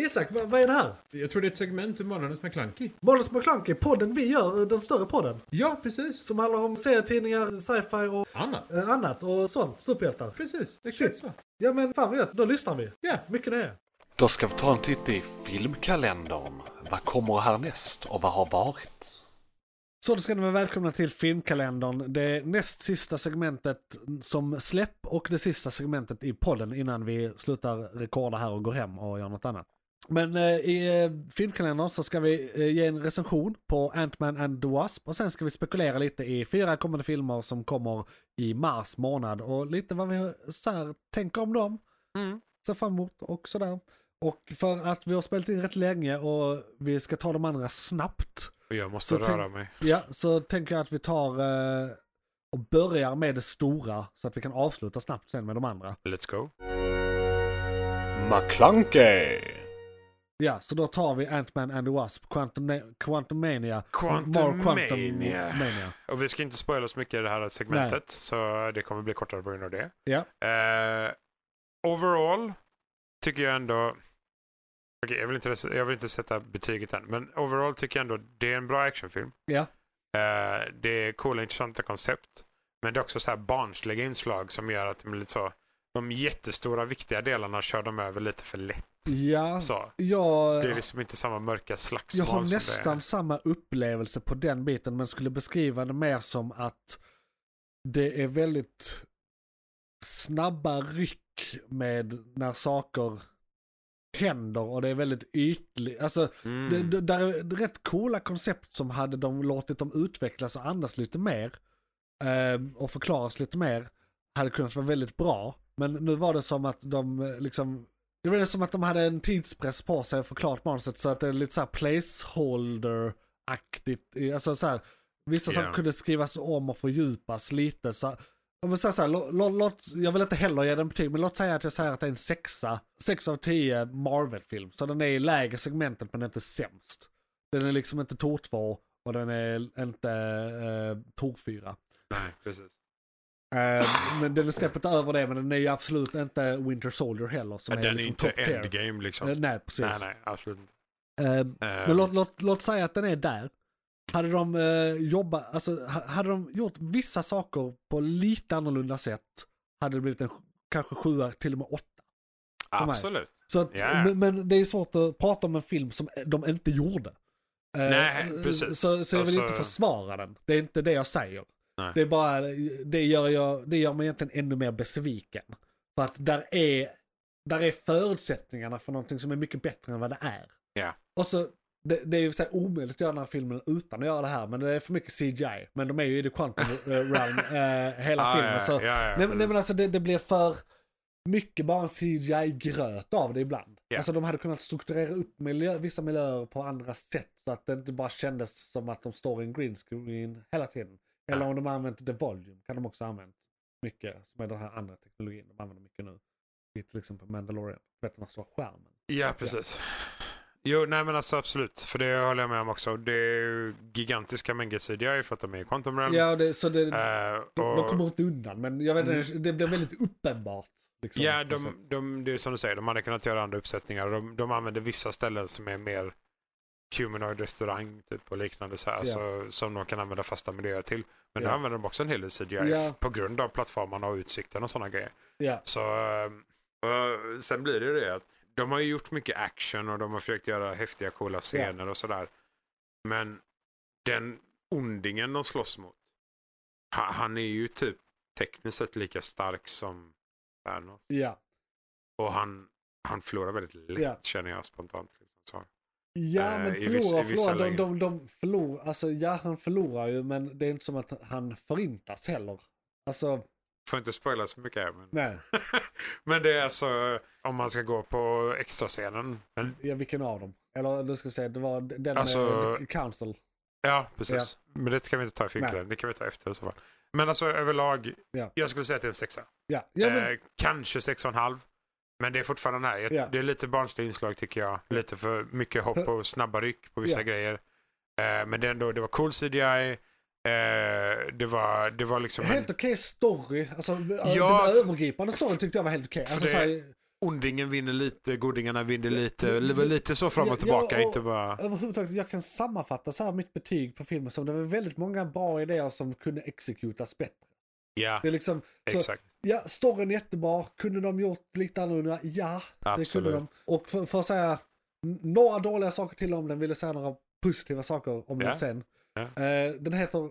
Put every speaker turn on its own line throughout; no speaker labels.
Isak, vad, vad är det här?
Jag tror det är ett segment ur Månadens McKlunky.
Måndags McKlunky, podden vi gör, eh, den större podden.
Ja, precis.
Som handlar om serietidningar, sci-fi och
Annat.
eh, annat och sånt. Superhjältar.
Precis, exakt
Shit.
så.
Ja men fan vad gött, då lyssnar vi.
Ja.
Mycket nöje.
Då ska vi ta en titt i filmkalendern. Vad kommer härnäst och vad har varit?
Så då ska ni vara välkomna till filmkalendern. Det näst sista segmentet som släpp och det sista segmentet i podden innan vi slutar rekorda här och går hem och gör något annat. Men eh, i eh, filmkalendern så ska vi eh, ge en recension på Ant-Man and the Wasp och sen ska vi spekulera lite i fyra kommande filmer som kommer i mars månad och lite vad vi så här, tänker om dem. Ser fram emot och sådär. Och för att vi har spelat in rätt länge och vi ska ta de andra snabbt
Och jag måste
Så tänk-
röra mig.
Ja, så tänker jag att vi tar eh, och börjar med det stora så att vi kan avsluta snabbt sen med de andra.
Let's go.
McClunkey!
Ja, så då tar vi Ant-Man and the Wasp, Quantum, Quantumania,
Quantumania.
Mania.
Och vi ska inte spoila så mycket i det här segmentet, så det kommer bli kortare på grund av det.
Ja.
Eh, overall tycker jag ändå... Okej, jag, vill inte, rec- jag vill inte sätta betyget än, men overall tycker jag ändå det är en bra actionfilm.
Ja.
Eh, det är coola, intressanta koncept. Men det är också så här barnsliga inslag som gör att det blir lite så... De jättestora, viktiga delarna kör de över lite för lätt.
Ja,
Så.
jag,
Det är liksom inte samma mörka slagsmål
jag har
som
nästan
det
samma upplevelse på den biten men skulle beskriva det mer som att det är väldigt snabba ryck med när saker händer och det är väldigt ytligt. Alltså
är. Mm.
Det, det, där är det rätt coola koncept som hade de låtit dem utvecklas och andas lite mer eh, och förklaras lite mer hade kunnat vara väldigt bra. Men nu var det som att de eh, liksom, det var det som att de hade en tidspress på sig och förklarat manuset så att det är lite såhär placeholder-aktigt. i- Alltså så här, vissa
Ja.
saker kunde skrivas om och fördjupas lite. Så, om vi säger så här, lå- lå- låt, jag vill inte heller ge den betyg, men låt säga att jag säger att det är en sexa, sex av tio Marvel-film. Så den är i lägre segmentet men inte sämst. Den är liksom inte Tor 2 och den är inte eh, Tor 4.
Nej, precis.
Eh, men den är steppet över det, men den är ju absolut inte Winter Soldier heller. Som är
den är
liksom
inte
top tier.
endgame liksom.
Eh, nej, precis.
nej, nej, absolut inte.
Eh,
Eh,
men låt, låt, låt säga att den är där. Hade de eh, jobbat, alltså ha- hade de gjort vissa saker på lite annorlunda sätt hade det blivit en sj- kanske sjua, till och med åtta. mig.
absolut.
Så att,
Ja.
men, men det är svårt att prata om en film som de inte gjorde. Eh,
Nej, precis.
Så, så jag vill
Alltså-
inte försvara den. Det är inte det jag säger.
Nej.
Det är bara, det gör, jag, det gör mig egentligen ännu mer besviken. För att där är, där är förutsättningarna för någonting som är mycket bättre än vad det är.
Ja.
Och så, det, det är ju så här omöjligt att göra den här filmen utan att göra det här, men det är för mycket CGI. Men de är ju i the quantum eh, realm eh, hela
Ah,
filmen.
ja,
Så
ja, ja,
Nej, men-
precis.
nej men alltså det, det blir för mycket bara en CGI-gröt av det ibland.
Ja.
Alltså de hade kunnat strukturera upp miljö, vissa miljöer på andra sätt så att det inte bara kändes som att de står i en green screen hela tiden. Eller
Ja.
om de har använt The Volume kan de också ha använt mycket, som är den här andra teknologin de använder mycket nu. I till exempel Mandalorian, du vet den här stora skärmen.
Ja, precis. Jo, nej men alltså absolut. För det håller jag med om också. Det är ju gigantiska mängder CDI för att de är i Quantum Realm.
Ja, det, så det,
Eh,
de, de
Mm. och- Mm.
kommer inte undan men jag vet, inte, det blir väldigt uppenbart. Liksom,
Ja,
på
de,
sätt.
de, det är som du säger, de hade kunnat göra andra uppsättningar. De, de använder vissa ställen som är mer humanoid restaurang typ, och liknande så här,
Ja.
så, som de kan använda fasta miljöer till. Men
Ja.
nu använder de också en hel del CGI
Ja.
på grund av plattformarna och utsikten och sådana grejer.
ja.
Så, eh, eh, sen blir det ju det att de har ju gjort mycket action och de har försökt göra häftiga coola scener och sådär. Men den ondingen de slåss mot, han, han är ju typ tekniskt sett lika stark som Thanos.
ja.
Och han, han förlorar väldigt lätt
Ja.
känner jag spontant. Liksom. Så,
Ja,
Eh,
men
i vissa-
förlorar,
i vissa
förlorar. De, de,
lägen.
de förlorar, alltså ja, han förlorar ju, men det är inte som att han förintas heller. Alltså,
får inte spoila så mycket här. Men,
nej,
men det är alltså om man ska gå på extrascenen. Men,
ja, vilken av dem? Eller nu ska vi säga, det var den
Alltså-
med eh, Council.
ja, precis. Men det kan vi inte ta i filmkläder. Det kan vi ta efter i så fall. Men alltså överlag,
Ja.
jag skulle säga att det är en sexa.
Ja, ja men,
eh, kanske sex och en halv. Men det är fortfarande här. Jag,
Ja.
Det är lite barnsliga inslag tycker jag. Lite för mycket hopp och snabba ryck på vissa
Ja.
grejer. Eh, men det, är ändå, det var cool CGI. Eh, det, var, det var liksom en-
helt okej story. Alltså,
Ja,
den
för-
övergripande storyn tyckte jag var helt okej.
för
Alltså,
det-
så här,
ondingen vinner lite, godingarna vinner lite. Det var lite så fram
Ja,
och tillbaka,
ja, och-
inte bara...
Överhuvudtaget, jag kan sammanfatta så här mitt betyg på filmen som det var väldigt många bra idéer som kunde exekutas bättre.
Ja,
Det är liksom, så,
exakt.
ja, storyn är jättebra, kunde de gjort lite annorlunda? Ja, det kunde
Absolut.
de. Och för, för att säga n- några dåliga saker till om den, ville säga några positiva saker om
Ja.
den sen.
Ja.
Eh, den heter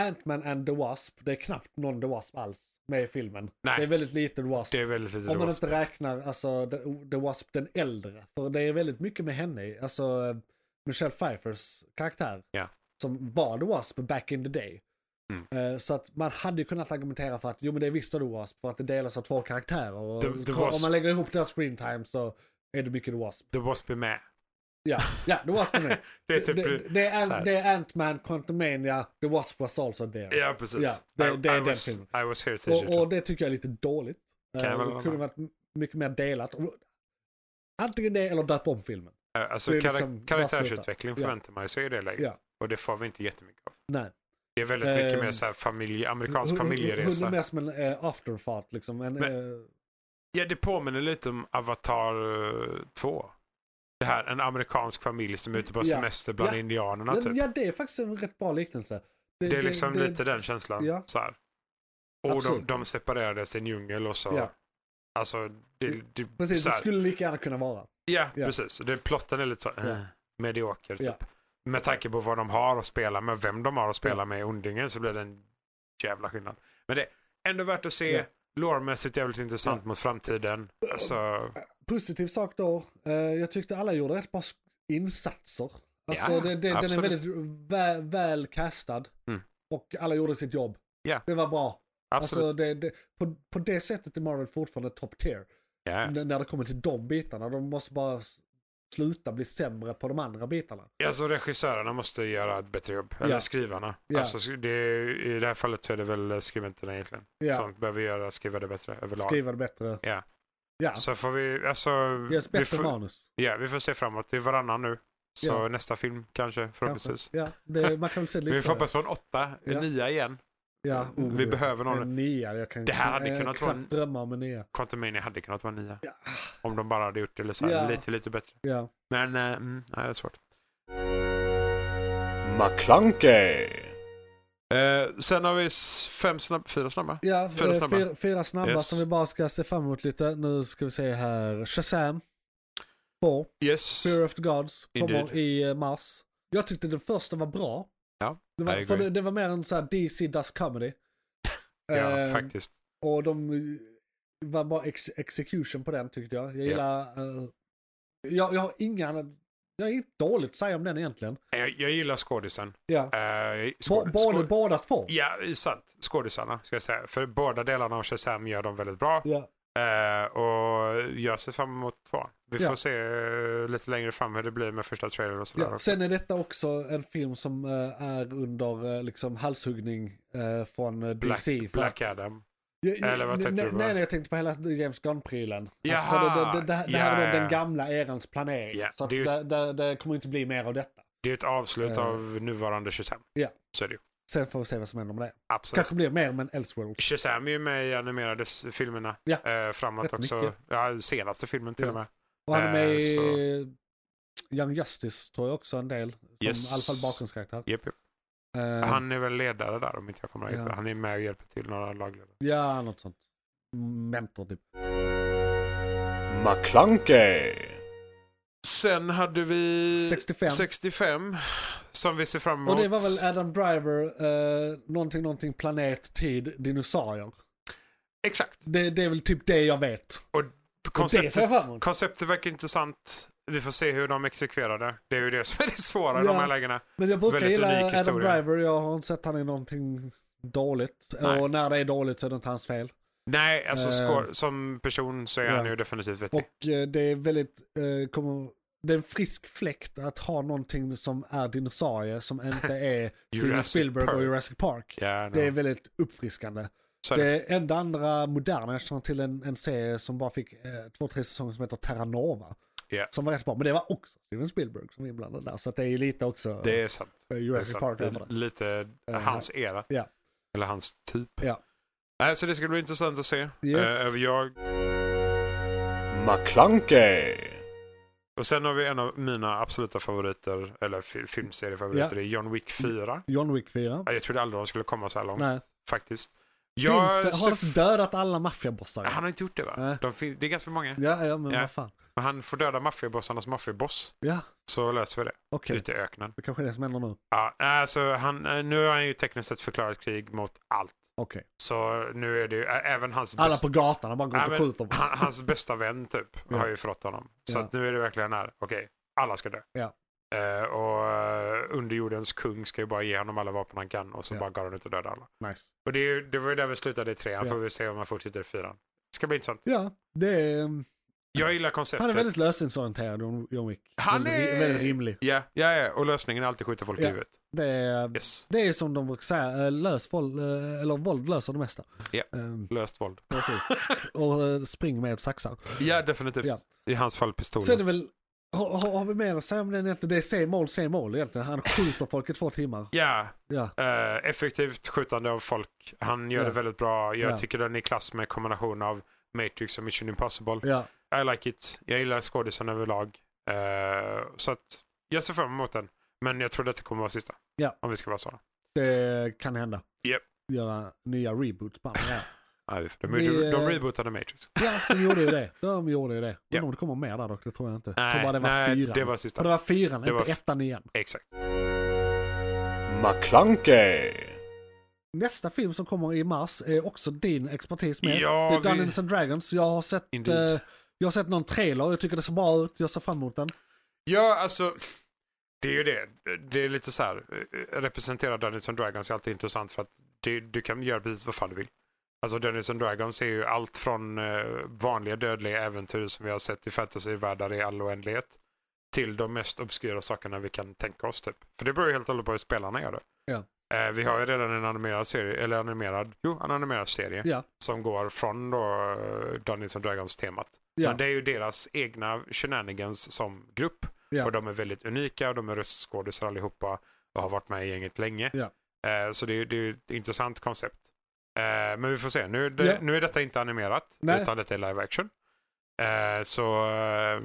Ant-Man and the Wasp, det är knappt någon The Wasp alls med i filmen.
Nej.
Det är väldigt lite The Wasp.
Det är väldigt lite
Om man
dåligt.
inte räknar alltså, The, The Wasp den äldre. För det är väldigt mycket med henne, i, alltså eh, Michelle Pfeiffers karaktär.
Ja.
Som var The Wasp back in the day.
Mm.
Eh, Så att man hade ju kunnat argumentera för att jo men det är visst The Wasp för att det delas av två karaktärer. Och
The- The
om
Wasp.
man lägger ihop deras screen time så är det mycket The Wasp.
The Wasp är med.
Ja, ja The Wasp är med.
Det är typ...
det, det är,
så här.
Ant- det är Ant-Man, Quantumania, The Wasp was also there.
Ja, precis.
Ja, det- det är
I, I,
den
was,
filmen.
I was here teacher.
Och, och det tycker jag är lite dåligt.
Kan jag
Eh,
väl
det
hålla
kunde varit m- mycket mer delat. Och- Antingen det eller döp om filmen.
Eh, alltså
det är
karak-
liksom
karaktärsutveckling
bara sluta.
förväntar man sig i det läget.
Ja.
Och det får vi inte jättemycket av.
Nej.
Det är väldigt mycket
Eh,
mer så här familj, amerikansk
Hon- hon- Hon
familjeresa.
är mer som en eh, afterthought liksom. En,
Men-
eh,
Ja, det påminner lite om Avatar eh, 2. Det här, en amerikansk familj som är ute på
Ja.
semester bland
Ja.
indianerna
men,
typ.
ja, det är faktiskt en rätt bra liknelse.
det är liksom lite den känslan.
ja.
Så här. Och de,
Absolut.
de separerades i en djungel och så.
Ja, Mm.
Alltså, det, det,
precis.
så
Det
här.
skulle lika gärna kunna vara.
Ja,
Ja.
precis. Det, plotten är lite så eh,
Ja.
medioker typ.
Ja.
Med tanke på vad de har att spela med, vem de har att spela med i Ondingen så blir det en jävla skillnad. Men det är ändå värt att se.
Ja.
Lårmässigt jävligt intressant mot framtiden. Alltså,
Positiv sak då. eh, jag tyckte alla gjorde rätt bra sk- insatser. Alltså,
Ja,
det, det, den är
absolut.
väldigt väl, väl castad.
Mm.
Och alla gjorde sitt jobb.
Ja.
Det var bra.
absolut.
Alltså det, det, på, på det sättet är Marvel fortfarande top tier.
ja.
N- När det kommer till de bitarna. De måste bara s- sluta bli sämre på de andra bitarna.
Alltså regissörerna måste göra ett bättre jobb. Eller
Ja.
skrivarna.
Ja.
Alltså, sk- det, är- I det här fallet så är det väl skribenterna egentligen.
Ja.
Som behöver göra, skriva det bättre överlag.
Skriva det bättre.
Ja.
Ja,
Så får vi, alltså.
ge oss
vi,
bättre
får,
manus.
ja, vi får se framåt. Det är varannan nu. Så
Ja.
nästa film kanske
kanske.
förhoppningsvis.
Ja, det, man kan väl se lite
Vi får hoppas på en åtta, en
Ja.
nia igen.
ja, oh,
vi behöver någon-
En nia. Jag kan,
Det här hade
jag
kunnat
kan
vara
knappt drömma om en nia.
Quantumania hade kunnat vara nia.
Ja.
Om de bara hade gjort det eller så här,
Ja.
lite, lite bättre.
Ja.
Men, eh, mm, nej, det är svårt.
McClunkey!
Eh, sen har vi s- fem snabba, fyra snabba.
Ja,
Fyra
eh,
snabba.
Fyra, fyra snabba
Yes.
som vi bara ska se fram emot lite. Nu ska vi se här. Shazam. Four.
Yes.
Fear of the Gods kommer
Indeed.
i eh, mars. Jag tyckte den första var bra.
Ja,
det var,
I
för
agree.
det, det var mer en sån här DC Does Comedy.
Ja,
Ehm,
faktiskt.
Och de eh, var bara ex execution på den tyckte jag. Jag gillar... eh, jag, jag har inga... andra- Jag är inte dåligt att säga om den egentligen.
Eh, Jag, jag gillar skådisen.
Ja.
Eh, skåd-
Ba- Både
skåd-
båda två.
Ja, det är sant. Skådisarna, ska jag säga. För båda delarna av Shazam gör de väldigt bra.
Ja.
Eh, och jag ser fram emot två. Vi
Ja.
får se eh, lite längre fram hur det blir med första trailern och sådär.
Ja. Sen är detta också en film som eh, är under eh, liksom halshuggning eh, från eh,
Black,
DC. för
Black
att-
Adam.
Ja, ja,
Eller vad tänkte
nej,
du på?
nej, nej, jag tänkte på hela James Gunn-prylen.
Jaha!
Alltså, Det, det, det, det här är
Ja,
då
ja,
den
ja.
gamla erans planering.
Ja,
så att
det är
det, det,
ju-
det kommer inte bli mer av detta.
Det är ett avslut
Eh.
av nuvarande Shazam.
Ja.
Så är det ju.
Sen får vi se vad som händer med det.
Absolut.
Kanske blir mer men Elseworld.
Shazam är ju med i animerade s- filmerna
Ja.
eh, framåt
Rätt
också.
mycket.
Ja, senaste filmen till
Ja.
och med.
Och han är med
Eh,
i
så-
Young Justice tror jag också en del. Som
Yes.
i alla fall bakgrundskaraktär.
Japp, japp.
Eh,
Han är väl ledare där om inte jag kommer ihåg.
Ja.
fel. Han är med och hjälper till några lagledare.
Ja, något sånt. Mentor typ.
McClunkey!
Sen hade vi
65.
65 som vi ser fram emot.
Och det var väl Adam Driver, eh, någonting, någonting, planet, tid, dinosaurier.
Exakt.
Det, det är väl typ det jag vet. Det ser
Konceptet,
jag fram emot.
konceptet verkar intressant. Vi får se hur de exekverar det. Det är ju det som är det svåra i
Ja.
de här lägena.
Men jag brukar
Väldigt
gilla
unik
Adam
historia.
Driver, jag har inte sett han i någonting dåligt.
Nej.
Och när det är dåligt så är det inte hans fel.
Nej, alltså
Eh.
skå- som person så är han
Ja.
ju definitivt vettig.
Och eh, det är väldigt, eh, kommer, det är en frisk fläkt att ha någonting som är dinosaurie som inte är Steven
Jurassic
Spielberg och
Park.
Jurassic Park.
Ja,
Det är
no.
väldigt uppfriskande.
Så är det.
Det enda andra moderna, jag känner till en, en serie som bara fick eh, två, tre säsonger som heter Terra Nova.
Ja.
Som var rätt bra, men det var också Steven Spielberg som var inblandad där. Så att det är ju lite också
Det är sant.
eh,
Det är
Jurassic
sant.
Park
Det
över
är
det.
lite
Eh,
hans era.
ja.
Eller hans typ.
Ja.
Eh, Nej, så det ska bli intressant att se.
Yes.
Eh, jag
McClunkey!
Och sen har vi en av mina absoluta favoriter, eller fi- filmseriefavoriter,
Ja.
det är John Wick 4.
John Wick 4.
Ja, Jag trodde aldrig de skulle komma så här långt
Nej.
faktiskt. Jag
Finns det,
ser
har de
f-
dödat alla maffiabossar?
Han har inte gjort det va?
Nej.
De fin- det är ganska många.
Ja, ja, men
Ja.
vad fan.
Men han får döda maffiabossarnas maffiaboss.
Ja,
Så löser vi det.
okej.
Ute i öknen.
Det kanske är det som händer nu. Okej.
Ja, alltså han, eh, nu har han ju tekniskt sett förklarat krig mot allt. Så nu är det ju, ä- även hans
Alla
bästa,
på gatan, han bara går
Ja,
ut och
men-
skjuter.
han- hans bästa vän typ
Ja.
har ju förrått honom. Så
Ja.
att nu är det verkligen här, okej, alla ska dö.
Ja.
Eh, och eh, underjordens kung ska ju bara ge honom alla vapen han kan och så
Ja.
bara går han ut och dödar alla.
Nice.
Och det, är ju, det var ju där vi slutade i trean,
Ja.
får vi se om han fortsätter i fyran. Ska bli intressant.
Ja, det är... mm,
Jag gillar konceptet.
Han är väldigt lösningsorienterad, John- John Wick.
Han
Väldigt,
är-
väldigt rimlig.
Ja, ja, ja, och lösningen är alltid skjuta folk
Ja.
i huvudet.
Det är,
Yes,
det är som de brukar säga, eh, lös våld, eh, eller våld löser det mesta.
Ja.
Ehm,
löst våld.
precis. Sp- Och eh, spring med saxar.
Ja, definitivt.
Ja.
I hans fall
Sen är det
pistolen.
väl, har, har, har vi mer att säga om den egentligen? Det är same old, same old egentligen. Han skjuter folk i två timmar.
Ja,
Ja,
eh, effektivt skjutande av folk. Han gör
Ja.
det väldigt bra. Jag
Ja.
tycker den är i klass med kombination av Matrix och Mission Impossible.
ja.
I like it. Jag gillar skådisen överlag. Eh, så att jag ser fram emot den. Men jag tror att det kommer vara sista.
Ja.
Om vi ska vara sådana.
Det kan hända.
Japp.
Göra nya reboots på andra. Ja.
Nej, vi får- De,
Vi,
de, de
eh,
rebootade Matrix.
ja, de gjorde ju det. De gjorde ju det. Men
Ja.
om det kommer mer där dock, det tror jag inte. jag tror
Nej,
bara det var
nej
fyran.
det var
Ja,
sista.
det var fyran,
Det
inte
var f-
ettan igen.
Exakt.
McClunkey!
Nästa film som kommer i mars är också din expertis med.
Ja,
det är
vi-
Dungeons and Dragons. Jag har sett,
Indeed.
eh, jag har sett någon trailer, jag tycker det ser bra ut, jag ser fram emot den.
Ja, alltså. Det är ju det. Det är lite så här. eh, Representera Dungeons and Dragons är alltid intressant för att det, du kan göra precis vad fan du vill. Alltså Dungeons and Dragons är ju allt från eh, vanliga dödliga äventyr som vi har sett i fantasyvärldar i all oändlighet till de mest obskyra sakerna vi kan tänka oss typ. För det beror ju helt och hållet på hur spelarna gör det.
Ja.
Eh, vi har ju redan en animerad serie, eller animerad, jo, en animerad serie
Ja.
som går från då eh, Dungeons and Dragons-temat.
Ja.
Men det är ju deras egna shenanigans som grupp.
Ja.
Och de är väldigt unika och de är röstskådisar allihopa och har varit med i gänget länge.
Ja.
Eh, så det, är- det är ju ett intressant koncept. Eh, men vi får se. Nu är, det,
Ja.
nu är detta inte animerat
Nej.
utan detta är live action. Eh, så eh,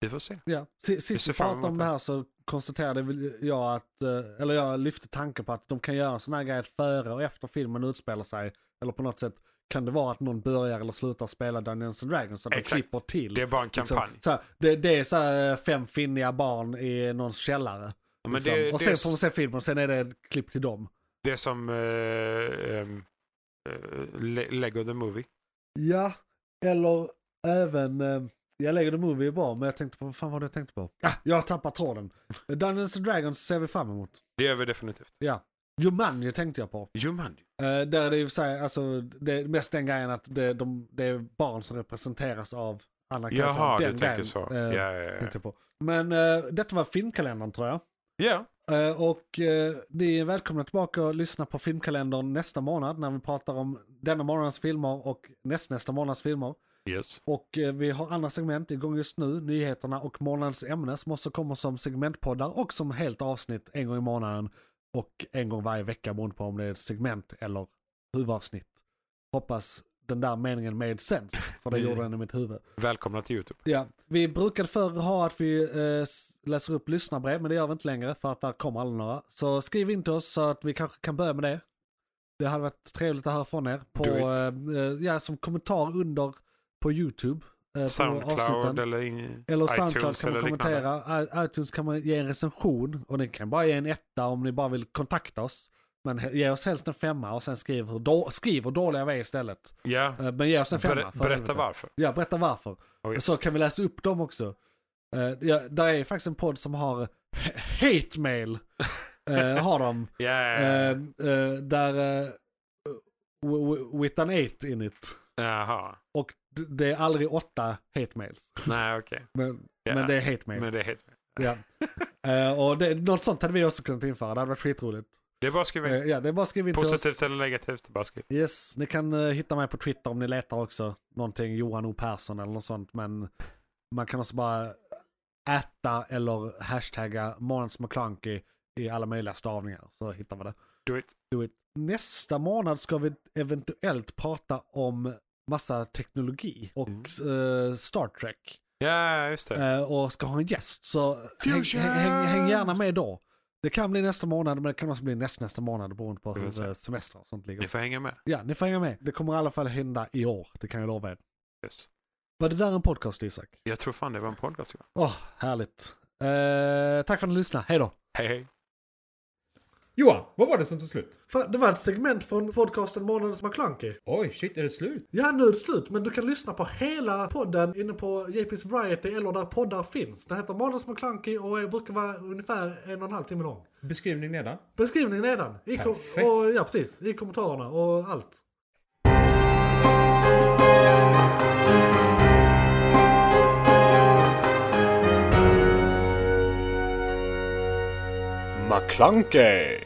vi får se.
Ja. Si-
Vi
Sist
ser
vi
fram
pratade om
emot
det här så konstaterade väl jag att, eh, eller jag lyfte tanken på att de kan göra en sån här grej att före och efter filmen utspelar sig, eller på något sätt kan det vara att någon börjar eller slutar spela Dungeons and Dragons så att de
Exakt.
klipper till.
Det är bara en
liksom.
kampanj.
så här, det, det är så här eh, fem finniga barn i någons källare.
Ja, men
liksom.
det,
och
det,
sen
är,
får man
s-
se filmen och sen är det ett klipp till dem.
det är som eh, ehm, eh, Le- Lego the Movie.
Ja, eller även, eh, jag lägger The Movie är bra, men jag tänkte på, vad fan var det jag tänkte på? Ah, jag tappar tråden. Dungeons and Dragons ser vi fram emot.
Det gör vi definitivt.
Jumanji tänkte jag på.
Jumanji.
Eh, där är det i och för sig, alltså, det är mest den grejen att det, de, det är barn som representeras av andra
Jaha,
den
du tänker
grejen,
så.
eh,
ja, ja,
tänkte jag på. Men eh, detta var filmkalendern tror jag.
ja. ja.
Eh, och eh, ni är välkomna tillbaka och lyssna på filmkalendern nästa månad när vi pratar om denna månadens filmer och nästnästa månads filmer.
Yes.
Och eh, vi har andra segment igång just nu, nyheterna och månadens ämne som också kommer som segmentpoddar och som helt avsnitt en gång i månaden och en gång varje vecka beroende på om det är ett segment eller huvudavsnitt. Hoppas den där meningen made sense, för det gjorde den i mitt huvud.
Välkomna till YouTube.
Ja, vi brukade förr ha att vi eh, s- läser upp lyssnarbrev, men det gör vi inte längre för att där kommer aldrig några. Så skriv in till oss så att vi kanske kan börja med det. Det hade varit trevligt att höra från er. På,
Do it.
eh, eh, ja, som kommentar under på YouTube. eh, på
Soundcloud
avsnitten.
eller, in,
eller Soundcloud
iTunes
kan man
eller liknande.
kommentera. I- iTunes kan man ge en recension och ni kan bara ge en etta om ni bara vill kontakta oss. Men he- ge oss helst en femma och sen skriv hur, då, skriv hur dåliga vi är istället.
Ja,
Eh, Men ge oss en femma.
Ber-
för
berätta
helvete.
varför.
Ja, berätta varför.
Oh,
Och
yes.
Så kan vi läsa upp dem också. Eh, ja, där är faktiskt en podd som har h- hate mail. eh, har de.
yeah.
Eh, eh, där eh, w- w- with an eight in it.
Jaha,
Och d- det är aldrig åtta hate mails.
nej okej.
Men,
Ja.
men det är hate mail.
Men det är helt...
Ja. Eh, och det, något sånt hade vi också kunnat införa. Det hade varit skitroligt.
Det är bara att skriva in.
Eh, ja, det är bara skriv in till
Positivt
oss.
eller negativt, det är bara att skriva.
Yes, ni kan eh, hitta mig på Twitter om ni letar också. Någonting Johan O Persson eller något sånt. Men man kan också bara äta eller hashtagga Måns McClunky i alla möjliga stavningar. Så hittar man det.
Do it.
Do it. Nästa månad ska vi eventuellt prata om massa teknologi och eh, Star Trek.
Ja, just det.
eh, och ska ha en gäst. Så häng,
Fusion!
häng, häng gärna med då. Det kan bli nästa månad, men det kan också bli näst, nästa månad beroende på
Vi får
hur
se.
eh, semestrar och sånt
Ni
ligger.
får hänga med.
Ja, ni får hänga med. Det kommer i alla fall hända i år, det kan jag lova er.
Yes.
Var det där en podcast, Isak?
Jag tror fan det var en podcast. va?
Åh, härligt. Eh, tack för att ni lyssnade, hej då!
Hej, hej.
Johan, vad var det som tog slut?
Fan, det var ett segment från podcasten Månadens McKlunky.
Oj, shit, är det slut?
Ja, nu är det slut, men du kan lyssna på hela podden inne på JP's Variety eller där poddar finns. Den heter Månadens McKlunky och är- brukar vara ungefär en och en halv timme lång.
Beskrivning nedan.
Beskrivningen nedan. I kom-
Perfekt.
och, ja, precis. I kommentarerna och allt.
McClunkey!